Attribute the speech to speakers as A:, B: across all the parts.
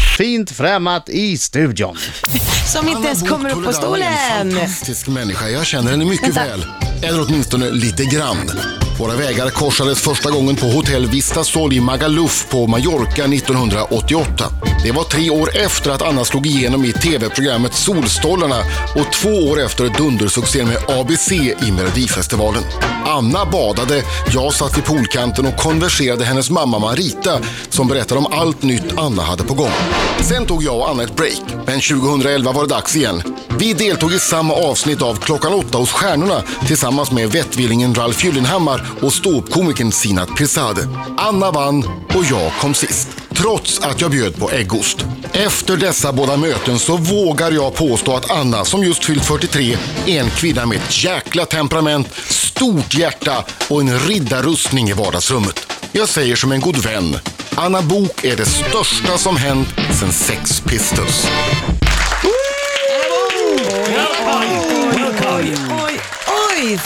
A: fint främmat i studion.
B: Som inte ens
C: Anna Bok
B: kommer upp på
C: Toledano är En
B: stolen.
C: fantastisk människa, jag känner henne mycket
B: Vänta.
C: väl. Eller åtminstone lite grann. Våra vägar korsades första gången på Hotell Vistasol i Magaluf på Mallorca 1988. Det var tre år efter att Anna slog igenom i tv-programmet Solstollarna och två år efter dundersuccén med ABC i Melodifestivalen. Anna badade, jag satt i poolkanten och konverserade hennes mamma Marita som berättade om allt nytt Anna hade på gång. Sen tog jag och Anna ett break, men 2011 var det dags igen. Vi deltog i samma avsnitt av Klockan åtta hos stjärnorna tillsammans med vettvillingen Ralf Gyllenhammar och ståuppkomikern Sinat Pirzadeh. Anna vann och jag kom sist. Trots att jag bjöd på äggost. Efter dessa båda möten så vågar jag påstå att Anna, som just fyllt 43, är en kvinna med ett jäkla temperament, stort hjärta och en riddarrustning i vardagsrummet. Jag säger som en god vän. Anna Bok är det största som hänt sedan Sex Pistols.
B: Oj, oj, oj,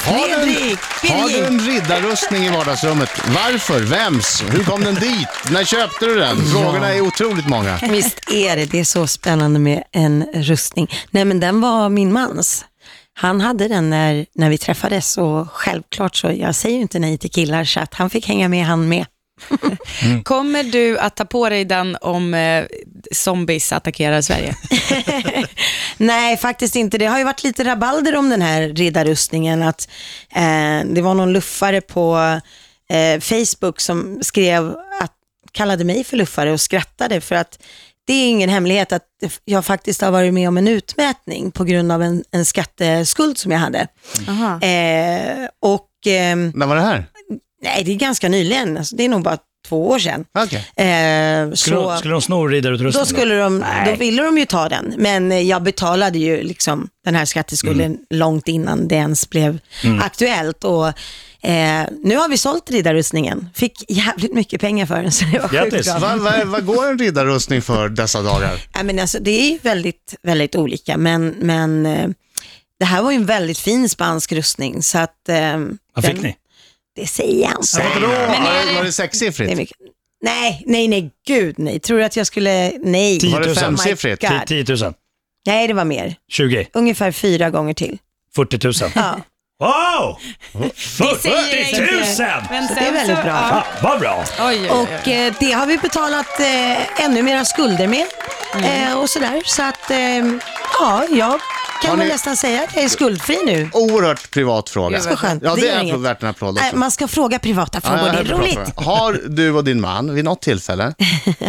A: Har du,
B: Fredrik!
A: en, har du
B: Birgit!
A: en riddarrustning i vardagsrummet? Varför? Vems? Hur kom den dit? När köpte du den? Frågorna är otroligt många.
D: Visst är det, det är så spännande med en rustning. Nej men den var min mans. Han hade den när, när vi träffades och självklart så, jag säger ju inte nej till killar så att han fick hänga med han med.
E: Kommer du att ta på dig den om eh, zombies attackerar Sverige?
D: Nej, faktiskt inte. Det har ju varit lite rabalder om den här riddarrustningen. Att, eh, det var någon luffare på eh, Facebook som skrev att, kallade mig för luffare och skrattade för att det är ingen hemlighet att jag faktiskt har varit med om en utmätning på grund av en, en skatteskuld som jag hade. Eh, och ehm,
A: När var det här?
D: nej, det är ganska nyligen, alltså, det är nog bara två år sedan.
A: Okej.
D: Eh,
F: Skulle, de, skulle de sno
D: då,
F: riddarutrustningen?
D: skulle de, då ville de ju ta den, men eh, jag betalade ju liksom den här skatteskulden
F: Mm.
D: långt innan det ens blev aktuellt. Och, eh, nu har vi sålt riddarrustningen, fick jävligt mycket pengar för den. Så det var sjukt
F: Grattis.
D: bra.
A: Vad vad- vad går en riddarrustning för dessa dagar?
D: Ja, men alltså, det är ju väldigt, väldigt olika, men, men eh, det här var ju en väldigt fin spansk rustning. Så att, eh,
F: Vad fick
D: den-
F: ni?
D: Det säger jag inte.
A: Vadå?
E: är det-
A: Var det
D: Det är
A: sexsiffrigt?
D: mycket. Nej, nej, nej, gud nej. Tror du att jag skulle, nej.
F: 10
A: Var
F: 000.
A: det
D: My
A: femsiffrigt?
D: God.
F: Ti- 10 000?
D: Nej, det var mer.
F: 20?
D: Ungefär fyra gånger till.
F: 40 000?
D: Ja.
F: Wow! 40 000!
E: Men
D: det är väldigt bra.
F: Ah, vad bra!
E: Oj, oj, oj.
D: Och eh, det har vi betalat eh, ännu mera skulder med.
A: Mm.
D: Eh, och sådär. Så att, eh, ja, jag
A: Har
D: kan väl
A: ni-
D: nästan säga att jag är skuldfri nu.
A: Oerhört privat fråga.
D: Så skönt.
A: Ja, det
D: gör
A: är
D: inget.
A: värt en applåd
D: Nej,
A: också.
D: man ska fråga privata
A: Ja,
D: frågor,
A: jag
D: det är
A: hörde
D: roligt.
A: prata. Har du och din man vid något tillfälle,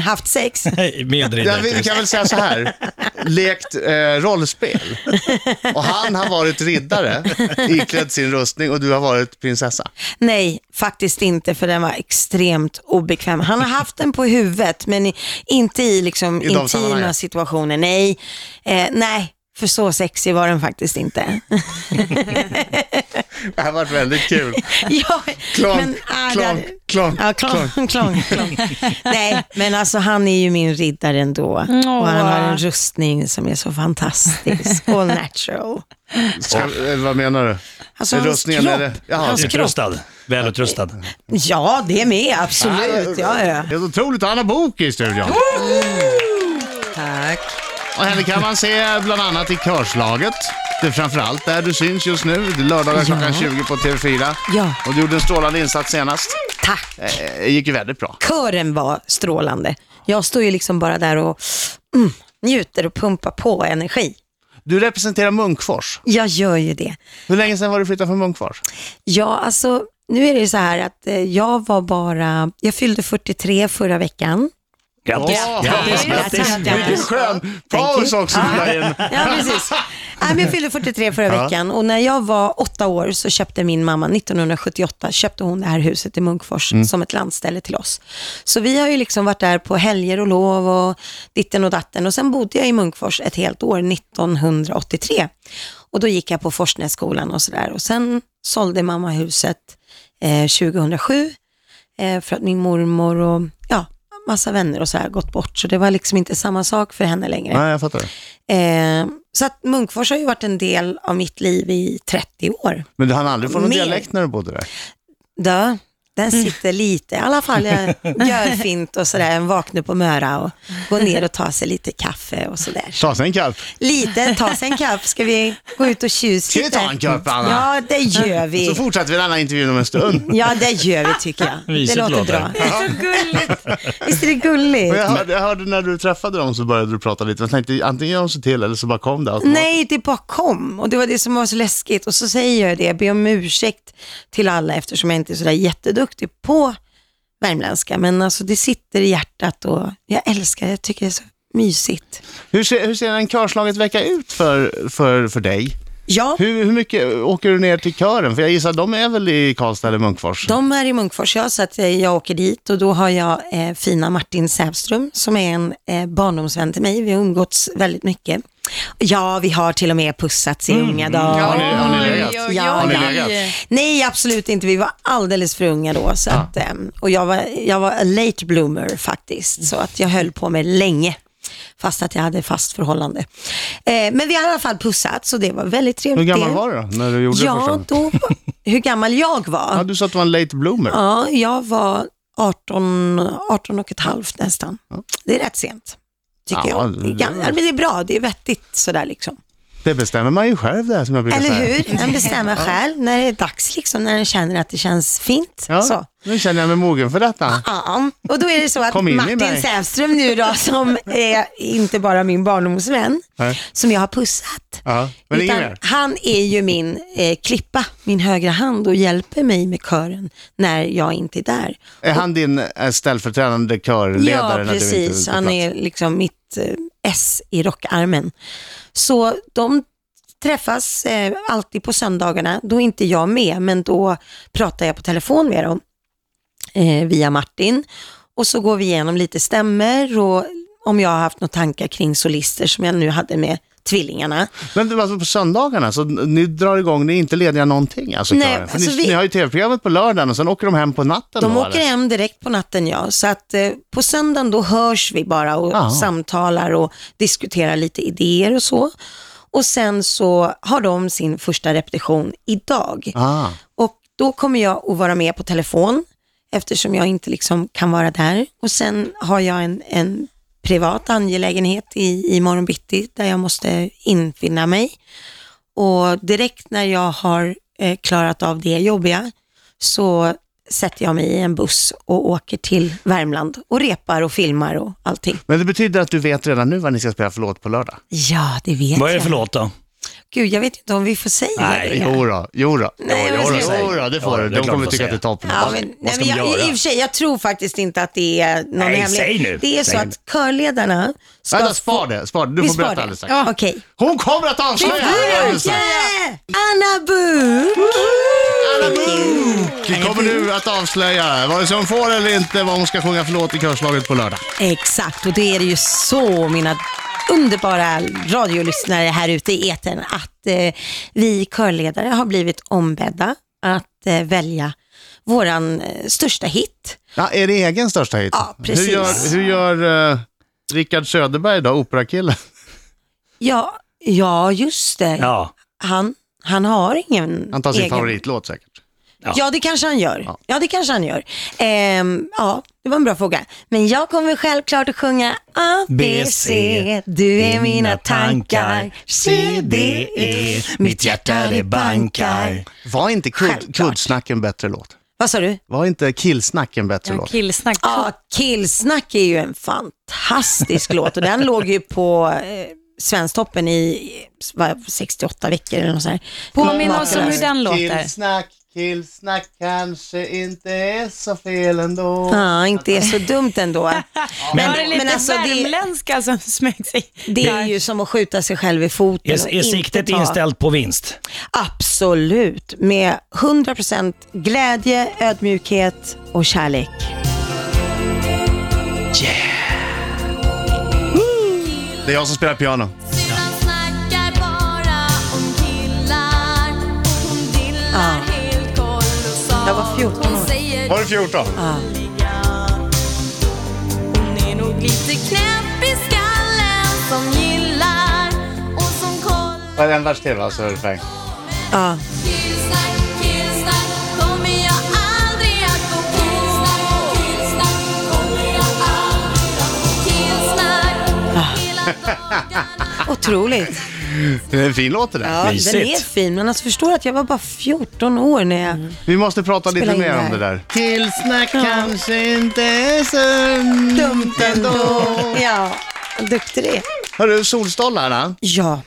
D: Haft sex.
F: Hej, Med
A: ja, vi, vi
F: riddarutrustning.
A: kan väl säga så här, lekt eh, rollspel. Och han har varit riddare, iklädd sin rustning och du har varit prinsessa.
D: Nej, faktiskt inte, för den var extremt obekväm. Han har haft den på huvudet, men i, inte i liksom
A: I de
D: intima
A: sammanhangen.
D: situationer. Nej, eh, nej, för så sexig var den faktiskt inte.
A: Det här har varit väldigt kul.
D: ja,
A: Klonk,
D: ah,
A: klonk,
D: där-
A: klonk,
D: Ja, klonk, klonk, klonk. Nej, men alltså han är ju min riddare ändå. Och han har en rustning som är så fantastisk. All natural.
A: Ska, eh, vad menar du?
D: Alltså,
A: Är
D: hans kropp.
A: eller? Jaha,
D: Hans
A: det-
D: kropp.
F: Utrustad. Välutrustad.
D: Ja, det är med, absolut. Ja, ja.
A: Det är så otroligt att han har bok i studion.
D: Tack.
A: Och henne kan man se bland annat i körslaget. Det är framförallt där du syns just nu. Det är lördagar klockan 20 på TV4.
D: Ja.
A: Och du gjorde en strålande insats senast.
D: Tack.
A: Eh, Det gick ju väldigt bra.
D: Kören var strålande. Jag står ju liksom bara där och mm, njuter och pumpar på energi.
A: Du representerar Munkfors.
D: Jag gör ju det.
A: Hur länge sedan var du flyttade från Munkfors?
D: Ja, alltså nu är det ju så här att eh, jag var bara, jag fyllde 43 förra veckan.
F: Grattis.
A: Åh,
F: Grattis,
D: tack,
F: grattis.
D: tack, tack.
A: Vilken skön paus också.
D: Ja, precis. Nej, men jag fyllde 43 förra veckan och när jag var åtta år så köpte min mamma, 1978, köpte hon det här huset i Munkfors som ett landställe till oss. Så vi har ju liksom varit där på helger och lov och ditten och datten och sen bodde jag i Munkfors ett helt år, 1983. Och då gick jag på Forsnässkolan och sådär och sen sålde mamma huset eh, 2007 eh, för att min mormor och ja, massa vänner och så här gått bort. Så det var liksom inte samma sak för henne längre.
A: Nej, jag fattar.
D: Eh, så att Munkfors har ju varit en del av mitt liv i 30 år.
A: Men du hann aldrig få någon
D: Mer.
A: dialekt när du bodde där?
D: Dö. Den
A: Mm.
D: sitter lite, i alla fall jag gör fint och sådär. En vaknar på Möra och går ner och tar sig lite kaffe och sådär.
A: Ta sig en kalv.
D: Lite, ta sig en kaffe. Ska vi gå ut och
A: Ska vi
D: tjuvsitta?
A: ta en kaffe, Anna?
D: Ja, det gör
A: Så
D: vi.
A: fortsätter vi den här intervjun om en stund.
D: Ja, det gör vi tycker jag. Det
F: Mysigt
D: låter
F: låter.
D: bra.
E: Så gulligt.
D: Visst är det gulligt?
A: Men jag, hörde, jag hörde när du träffade dem så började du prata lite. Jag tänkte antingen gör de sig till eller så bara kom det automatiskt.
D: Nej, det bara kom och det var det som var så läskigt. Och så säger jag det, jag ber om ursäkt till alla eftersom jag inte är sådär jätteduktig på värmländska. Men alltså det sitter i hjärtat och jag älskar det, jag tycker det är så mysigt.
A: Hur ser, hur ser en körslaget vecka ut för, för, för dig?
D: Ja,
A: Hur, hur mycket åker du ner till kören? För jag gissar, de är väl i Karlstad eller Munkfors?
D: de är i Munkfors, ja, så att eh, jag åker dit och då har jag eh, fina Martin Sävström som är en eh, barndomsvän till mig. Vi har umgåtts väldigt mycket. Ja, vi har till och med pussats i unga dagar.
A: Har ni, har ni legat?
E: Oj,
D: Ja,
A: Har ni
D: ja.
A: legat?
D: Nej, absolut inte. Vi var alldeles för unga då. Så att, ehm, och jag var, jag var a late bloomer faktiskt, så att jag höll på mig länge. Fast att jag hade fast förhållande. Eh, men vi har i alla fall pussats och det var väldigt trevligt.
A: Hur gammal
D: det.
A: var du då, när du gjorde det första
D: Ja,
A: gången?
D: då, hur gammal jag
A: Ja,
D: var?
A: du sa att du var en late bloomer.
D: Ja, jag var 18, 18 och ett halvt nästan. Det är rätt sent, tycker
A: Ja,
D: jag. Det är, gam- ja, men det är bra, det är vettigt sådär liksom.
A: Det bestämmer man ju själv det här, som jag brukar
D: Eller
A: säga.
D: hur? Den bestämmer själv när det är dags, liksom, när den känner att det känns fint.
A: Ja,
D: Så.
A: Nu känner jag mig mogen för detta.
D: Ja, och då är det så att
A: Kom in i
D: Martin
A: mig.
D: Sävström nu då, som är inte bara min barndomsvän,
A: Nej.
D: som jag har pussat.
A: Ja, men inget
D: utan
A: mer?
D: han är ju min eh, klippa, min högra hand och hjälper mig med kören när jag inte är där.
A: Är han din eh, ställföreträdande körledare?
D: ja,
A: när du inte är
D: precis.
A: på
D: Han
A: plats?
D: är liksom mitt eh, S i rockarmen. Så de träffas eh, alltid på söndagarna. Då är inte jag med, men då pratar jag på telefon med dem eh, via Martin. Och så går vi igenom lite stämmer och om jag har haft några tankar kring solister som jag nu hade med tvillingarna.
A: Men det var alltså på söndagarna, så ni drar igång, ni är inte lediga någonting alltså,
D: Nej,
A: kören. För
D: alltså
A: ni,
D: vi-
A: ni har ju tv-programmet på lördagen och sen åker de hem på natten.
D: De
A: då,
D: åker
A: eller?
D: hem direkt på natten ja, så att eh, på söndagen då hörs vi bara och
A: Jaha.
D: samtalar och diskuterar lite idéer och så. Och sen så har de sin första repetition idag.
A: Ah.
D: Och då kommer jag att vara med på telefon eftersom jag inte liksom kan vara där. Och sen har jag en, en privat angelägenhet i, i morgon bitti där jag måste infinna mig. Och direkt när jag har eh, klarat av det jobbiga så sätter jag mig i en buss och åker till Värmland och repar och filmar och allting.
A: Men det betyder att du vet redan nu vad ni ska spela för låt på lördag?
D: Ja, det vet
F: Vad är det
D: jag.
F: för låt då?
D: Gud, jag vet inte om vi får säga
F: Nej,
D: det.
A: Jo då, jo då.
D: Nej, men
A: jo,
D: det-
A: då, jo då, det
F: Ja,
A: får
F: det är
A: du. De
F: klart
A: kommer
F: att
A: tycka
F: säga.
A: att det är toppen.
D: Ja, men, nej,
F: ska
D: men
F: man
D: jag,
F: göra?
D: I och för sig, jag tror faktiskt inte att det är någon
F: Nej,
D: hemlig...
F: säg nu.
D: Det är så
F: Säg nu.
D: att körledarna ska...
A: Vänta,
D: få-
A: spar det. Spar det. Du
D: Vi
A: får
D: sparar
A: berätta
D: det.
A: alldeles strax.
D: Ja. Okej.
A: Hon kommer att avslöja alldeles strax.
D: Yeah! Anna Buk!
A: Vi kommer nu att avslöja vare sig hon får eller inte vad hon ska sjunga för låt i körslaget på lördag.
D: Exakt, och det är det ju så, mina underbara radiolyssnare här ute i etern att eh, vi körledare har blivit ombedda att eh, välja våran eh, största hit.
A: Ja, är det egen största hit?
D: Ja, precis.
A: Hur gör, hur gör eh, Rickard Söderberg då, operakillen?
D: Ja, ja just det.
F: Ja.
D: Han, han har ingen
A: Han tar sin
D: egen...
A: favoritlåt säkert.
D: Ja. det kanske han gör. Ja, det kanske han gör. Ehm, ja, det var en bra fråga. Men jag kommer självklart att sjunga A, B, C. Du är mina tankar. C, D, E. Mitt hjärta det bankar.
A: Var inte kudd,
D: Självklart.
A: Kuddsnack en bättre låt?
D: Vad sa du?
A: Var inte Killsnack en bättre låt?
E: Killsnack.
D: Ja, Killsnack är ju en fantastisk låt och den låg ju på eh, Svensktoppen i vad, 68 veckor eller något sånt. här.
E: Påminn
D: Makalöst.
E: oss om hur den låter.
A: Killsnack, killsnack kanske inte är så fel ändå.
D: Ja, inte är så dumt ändå.
E: Men, det är lite
D: men alltså, det-
E: värmländska som smög sig.
D: Det är ju som att skjuta sig själv i foten. och
F: Är, är
D: inte
F: siktet
D: ta-
F: inställt på vinst?
D: Absolut, med 100% glädje, ödmjukhet och kärlek.
A: Det är jag som spelar piano.
G: Syrran snackar bara om killar. Hon dillar
D: Ja.
G: helt kolossalt.
D: Jag var 14 år.
G: Hon säger
A: Var det 14?
G: hon är nog lite knäpp i skallen som gillar och som kollar.
A: Varenda vers till alltså, refräng.
D: Ja,
G: Killsnack, killsnack kommer jag aldrig att gå
D: Ah. Otroligt.
A: Det är en fin låt det där.
D: Ja,
F: Mysigt.
D: den är fin, men alltså förstår att jag var bara 14 år när jag...
A: Vi måste prata
D: Spela
A: lite
D: in
A: mer
D: det
A: om
D: här.
A: det där. Killsnack kanske inte är så
D: Dumt ändå. Ja, duktig det är.
A: Hörru, Solstolarna.
D: Ja.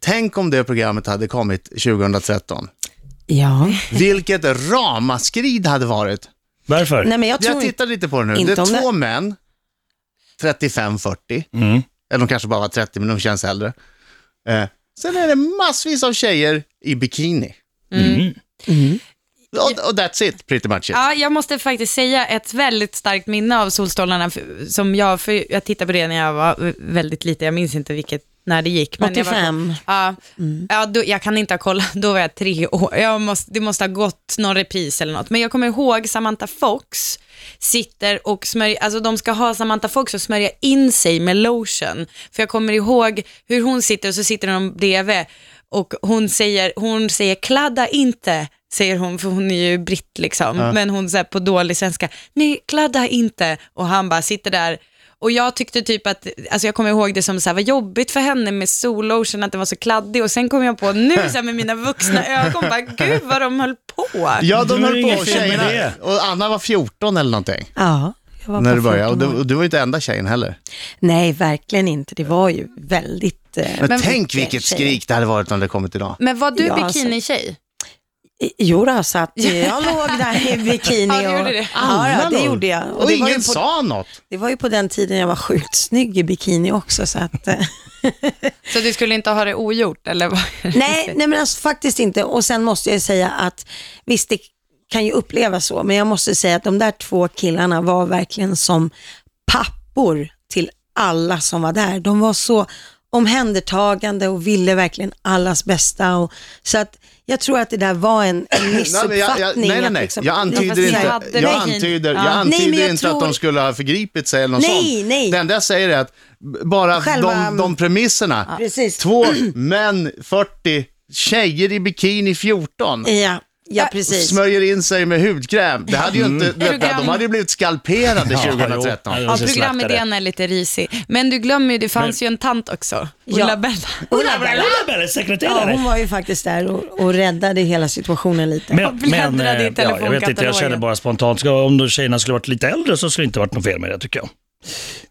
A: Tänk om det programmet hade kommit 2013.
D: Ja.
A: Vilket ramaskri det hade varit.
F: Varför?
D: Nej, men jag tror
A: Jag tittar lite på det nu.
D: inte
A: Det
D: om
A: är
D: det-
A: två män, 35-40.
F: Mm.
A: Eller de kanske bara var 30, men de känns äldre. Eh, sen är det massvis av tjejer i bikini.
D: Mm.
F: Mm.
A: Och, och that's it, pretty much it.
E: Ja, jag måste faktiskt säga ett väldigt starkt minne av Solstolarna f- som jag, för jag tittade på det när jag var eh, väldigt liten, jag minns inte vilket, när det gick. Men Jag, var,
D: 85.
E: ja, ja, då, jag kan inte ha kollat, då var jag tre år, jag måste, det måste ha gått någon repris eller något. Men jag kommer ihåg Samantha Fox sitter och smörjer, alltså de ska ha Samantha Fox och smörja in sig med lotion. För jag kommer ihåg hur hon sitter och så sitter de bredvid och hon säger, hon säger kladda inte, säger hon, för hon är ju britt liksom, men hon säger på dålig svenska, nej kladda inte, och han bara sitter där och jag tyckte typ att, alltså jag kommer ihåg det som så här, var jobbigt för henne med sollotion, att det var så kladdig och sen kom jag på nu så här, med mina vuxna ögon, bara, gud vad de höll på.
A: Ja, de
F: Det var
A: höll
F: inget
A: på,
F: fel med
A: tjejerna.
F: det.
A: Och Anna var 14 eller någonting
D: Ja, jag var
A: när
D: bara
A: du började. Och
D: 14
A: du,
D: år.
A: och du var ju inte enda tjejen heller.
D: Nej, verkligen inte. Det var ju väldigt... eh,
A: Men, tänk
D: mycket
A: vilket
D: tjejer.
A: skrik det hade varit om det kommit idag.
E: Men var du
D: Ja, alltså.
E: bikinitjej?
D: I- Jo då, så att eh, jag låg där i bikini.
E: Ja, du
D: och,
E: gjorde det.
D: Ja, då, det
A: Hallå.
D: gjorde jag.
A: Och,
D: det, var ju
A: ingen
D: på,
A: sa något.
D: det var ju på den tiden jag var sjukt snygg i bikini också. Så att, eh,
E: Så du skulle inte ha det ogjort eller? vad?
D: nej, nej, men alltså, faktiskt inte. Och sen måste jag säga att visst, det kan ju upplevas så, men jag måste säga att de där två killarna var verkligen som pappor till alla som var där. De var så omhändertagande och ville verkligen allas bästa. Och, så att jag tror att det där var en, en
A: Nej, men
D: missuppfattning.
A: jag, jag, nej, nej,
D: att
A: nej.
D: liksom-
A: Jag antyder
E: ni
A: inte,
E: hade
A: jag
E: det.
A: antyder, jag
E: Ja. Nej,
D: men
A: antyder
D: jag
A: inte att
D: tror-
A: de skulle ha förgripit sig eller något
D: Nej,
A: sånt.
D: nej.
A: Det enda jag säger är att b- bara
D: Själva-
A: de, de premisserna.
D: Precis.
A: Två män, 40, tjejer i bikini, 14.
D: Ja,
A: Äh,
D: ja precis.
A: Smörjer in sig med hudkräm. Det hade ju inte,
E: du
A: vänta, de
E: grann-
A: hade ju blivit skalperade
F: Ja,
A: 2013.
F: jo.
E: Ja,
F: Jag ska slakta
E: programidén är lite risig. Men du glömmer ju, det fanns ju en tant också, Ulla
D: Ja.
E: Bella.
F: Ulla-Bella, Ulla-Bella,
D: Ja,
F: sekreterare.
D: hon var ju faktiskt där och, och räddade hela situationen lite.
F: Men,
E: bläddra
F: men eh,
E: i
F: ja, jag vet inte, jag
E: telefonkatalogen.
F: känner bara spontant, ska- om de tjejerna skulle varit lite äldre så skulle det inte varit något fel med det tycker jag.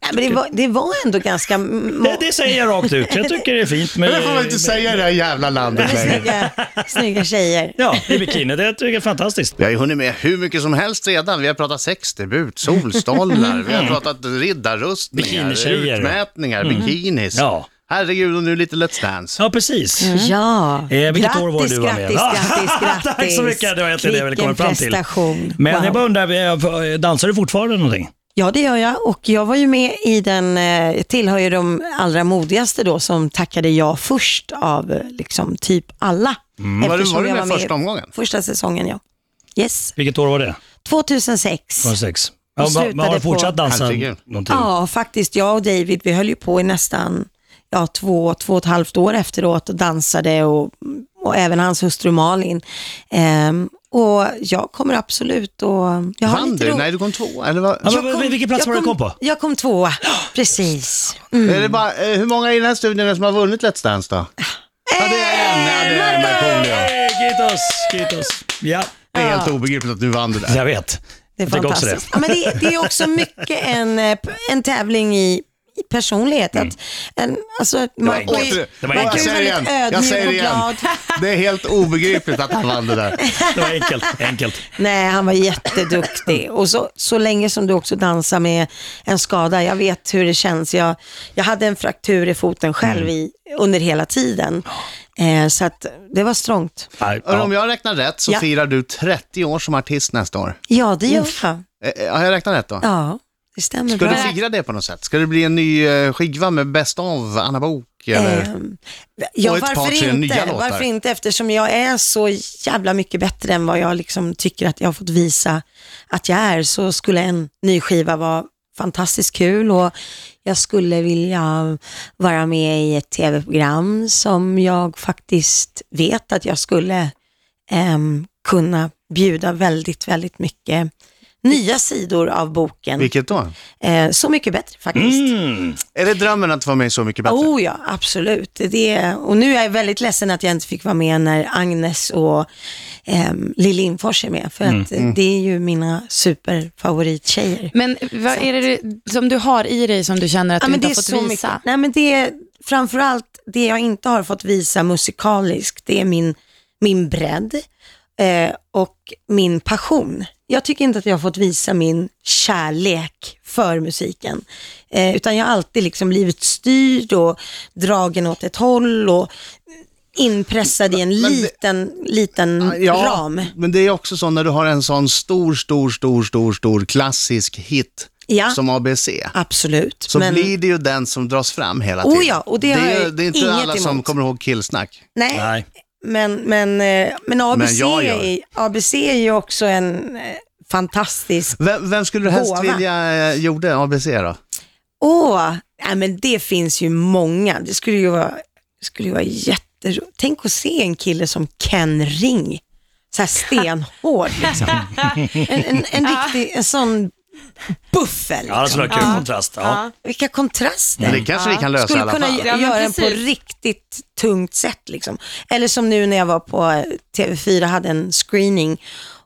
D: Nej, men det, var, det var ändå ganska må-
F: Det, det säger jag rakt ut, jag tycker det är fint med...
A: Men det får man inte säga i det här jävla landet längre.
D: snygga, snygga tjejer.
F: Ja, i bikini, det tycker jag är fantastiskt.
A: Vi har ju hunnit med hur mycket som helst redan. Vi har pratat sexdebut, solstollar, vi
D: Mm.
A: har pratat riddarrustningar,
F: Bikinitjejer.
A: utmätningar, bikinis.
F: Ja.
A: Herregud, och nu lite Let's Dance.
F: Ja, precis.
A: Mm.
D: Ja,
F: Eh, vilket
D: grattis,
F: år var du var med?
D: grattis, grattis, grattis.
F: Tack så mycket, det var egentligen det jag ville komma
D: Vilken
F: fram till.
D: prestation.
F: Men
D: Wow.
F: jag bara undrar, eh, dansar du fortfarande någonting?
D: Ja, det gör jag. Och jag var ju med i den, eh, jag tillhör ju de allra modigaste då som tackade ja först av eh, liksom typ alla. Mm.
A: Var du- var du med första omgången?
D: Första säsongen, ja. Yes,
F: Vilket år var det?
D: 2006.
F: 2006. Ja,
D: slutade
F: men har du
D: på-
F: fortsatt dansa
A: Herregud.
F: någonting?
D: Ja, faktiskt. Jag och David, vi höll ju på i nästan ja, två, två och ett halvt år efteråt och dansade och, och även hans hustru Malin. Ehm, och jag kommer absolut och jag har
A: Vann
D: lite
A: du?
D: ro-
A: Nej, du kom två. Eller vad?
F: Ja,
D: Jag
F: men vilken plats
D: jag
F: var det du kom på?
D: Jag kom Eh, tvåa, precis.
A: Är det bara, eh, hur många i den här studion som har vunnit Let's Dance då? Ja, det är en. Ja, det är en Markoolio.
F: Hey, Kitos, kitos. Ja,
A: Det är helt obegripligt att du vann det där.
F: jag vet.
D: Det är
F: jag tycker också
D: fantastiskt. Ja, men det, det är också mycket en, eh, p- en tävling i i personlighet. Att en, alltså, att man,
F: enkelt.
D: oj,
A: Åter-
F: Det var
D: man
F: enkelt.
D: kan
A: Jag
D: ju
A: säger det
D: vara
A: igen.
D: lite
A: Jag säger
D: ödmjuk
A: det
D: och
A: igen.
D: glad.
A: Det är helt obegripligt att han vann det där.
F: Det var enkelt, enkelt.
D: Nej, han var jätteduktig. Och så, så länge som du också dansar med en skada, jag vet hur det känns. Jag, jag hade en fraktur i foten själv i, under hela tiden. Eh, så att det var strångt.
F: Nej,
A: Och Om
F: ja.
A: jag räknar rätt så
D: Ja.
A: firar du 30 år som artist nästa år.
D: Ja, det gör jag.
A: Eh, eh, Har jag räknat rätt då?
D: Ja, det stämmer
A: Ska
D: bra.
A: du fira det på något sätt? Ska det bli en ny eh, skiva med Best of Anna Book? Eller?
D: Ehm, ja,
A: Och ett par, tre
D: varför
A: nya
D: inte?
A: låtar.
D: Varför inte? Eftersom jag är så jävla mycket bättre än vad jag liksom tycker att jag har fått visa att jag är, så skulle en ny skiva vara fantastiskt kul och jag skulle vilja vara med i ett tv-program som jag faktiskt vet att jag skulle ehm, kunna bjuda väldigt, väldigt mycket nya sidor av boken.
A: Vilket då?
D: Eh, så mycket bättre faktiskt.
A: Är det drömmen att vara med i Så mycket bättre?
D: Oh ja, absolut. Det är, och nu är jag väldigt ledsen att jag inte fick vara med när Agnes och ehm, Lill Lindfors är med. För att eh, det är ju mina superfavorittjejer.
E: Men vad är det du- som du har i dig som du känner att du inte har fått visa?
D: Mycket, nej, men det är framförallt det jag inte har fått visa musikaliskt, det är min, min bredd eh, och min passion. Jag tycker inte att jag har fått visa min kärlek för musiken, eh, utan jag har alltid liksom blivit styrd och dragen åt ett håll och inpressad i en liten, liten ram.
A: Mm, men det är också så när du har en sån stor, stor, stor, stor, stor klassisk hit
D: Ja.
A: som ABC.
D: Absolut.
A: Så
D: men-
A: blir det ju den som dras fram hela
D: Oh
A: tiden.
D: ja, och det har
A: är,
D: jag
A: det är inte
D: inget
A: alla som
D: emot.
A: kommer ihåg killsnack.
D: Nej,
F: Nej.
D: Men, men, eh, men, ABC,
A: Men jag gör.
D: är, ABC är ju också en eh, fantastisk...
A: Vem, vem skulle du helst
D: Gåva.
A: vilja eh, gjorde ABC då?
D: Åh, nej, men det finns ju många. Det skulle ju vara, skulle ju vara jätteroligt. Tänk att se en kille som Ken Ring, så här stenhård liksom. En, en, en riktig, en sån buffel.
F: Ja, det
D: Liksom.
F: skulle vara kul kontrast. Ja.
D: Vilka kontraster.
A: Men det kanske vi kan lösa i
D: skulle
A: alla
D: kunna
A: fall.
D: gö-
E: Ja, men
D: göra den på
E: precis.
D: riktigt tungt sätt. Liksom. Eller som nu när jag var på eh, TV4, hade en screening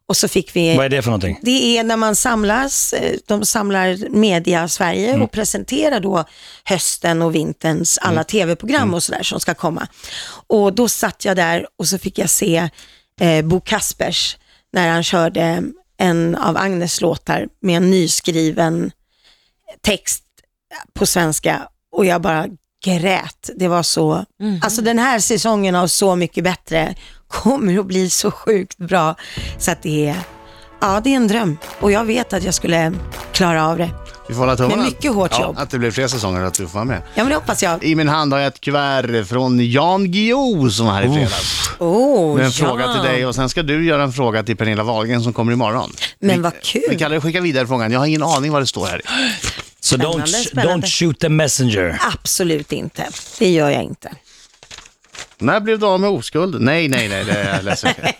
D: och så fick vi...
F: Vad är det för någonting?
D: Det är när man samlas, eh, de samlar media Sverige och presenterar då hösten och vinterns alla tv-program och sådär som ska komma. Och då satt jag där och så fick jag se eh, Bo Kaspers när han körde en av Agnes låtar med en nyskriven text på svenska och jag bara grät. Det var så, alltså den här säsongen av Så mycket bättre kommer att bli så sjukt bra så att det är, ja det är en dröm och jag vet att jag skulle klara av det
A: Vi får hålla
D: med
A: tummarna.
D: mycket hårt
A: Ja,
D: jobb.
A: att det blir fler säsonger och att du får vara med.
D: Ja men det hoppas jag.
A: I min hand har jag ett kuvert från Jan Guillou som var här i fredags.
D: Oh,
A: Med en
D: ja.
A: fråga till dig och sen ska du göra en fråga till Pernilla Wahlgren som kommer imorgon.
D: Men vad
A: Vi
D: kul.
A: kan aldrig skicka vidare frågan, jag har ingen aning vad det står här. i.
F: Så don't,
D: Spännande, spännande.
F: don't shoot the messenger.
D: Absolut inte. Det gör jag inte.
A: När blev du av med oskuld? Nej, nej, nej, det är jag ledsen för.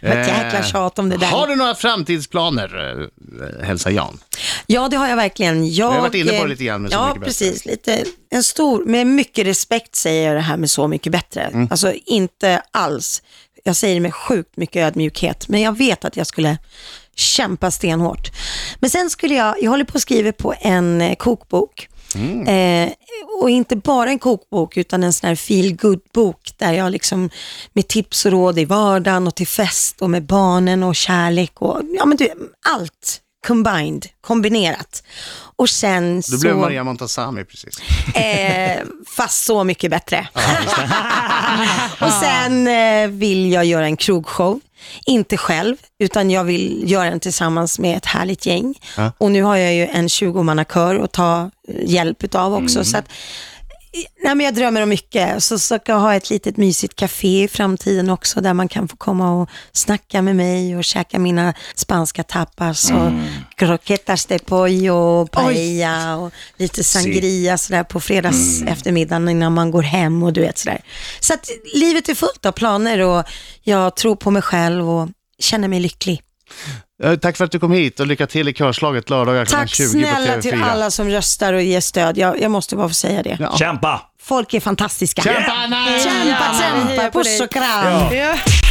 D: Men jäkla tjat om det där.
A: Eh. Har du några framtidsplaner? Eh, Hälsa Jan.
D: Ja, det har jag verkligen. Jag,
A: Vi har varit inne på det lite grann med Så
D: ja,
A: mycket bättre.
D: precis. Lite, en stor, med mycket respekt säger jag det här med Så mycket bättre. Alltså inte alls. Jag säger det med sjukt mycket ödmjukhet, men jag vet att jag skulle kämpa stenhårt. Men sen skulle jag, jag håller på att skriva på en eh, kokbok. Eh, och inte bara en kokbok utan en sån här feel good bok där jag liksom med tips och råd i vardagen och till fest och med barnen och kärlek och ja men du, allt combined, kombinerat. Och sen
A: Du
D: så,
A: blev Maria Montazami precis.
D: eh, fast så mycket bättre. och sen eh, vill jag göra en krogshow, inte själv, utan jag vill göra den tillsammans med ett härligt gäng. Och nu har jag ju en 20-mannakör att ta eh, hjälp av också. Så att, Nej, men jag drömmer om mycket. Så ska jag ha ett litet mysigt café i framtiden också där man kan få komma och snacka med mig och käka mina spanska tapas och
A: Mm.
D: croquetas de pollo och paella och lite sangria sådär på fredags
A: Mm.
D: eftermiddagen innan man går hem och du vet sådär. Så att livet är fullt av planer och jag tror på mig själv och känner mig lycklig.
A: Eh, Tack för att du kom hit och lycka till i körslaget lördagar klockan
D: Tack
A: 20 på TV4.
D: snälla till alla som röstar och ger stöd. Jag, jag måste bara få säga det.
A: Ja.
F: Kämpa!
D: Folk är fantastiska.
A: Kämpa, Anna!
D: Kämpa, kämpa, puss och kram.
E: Ja.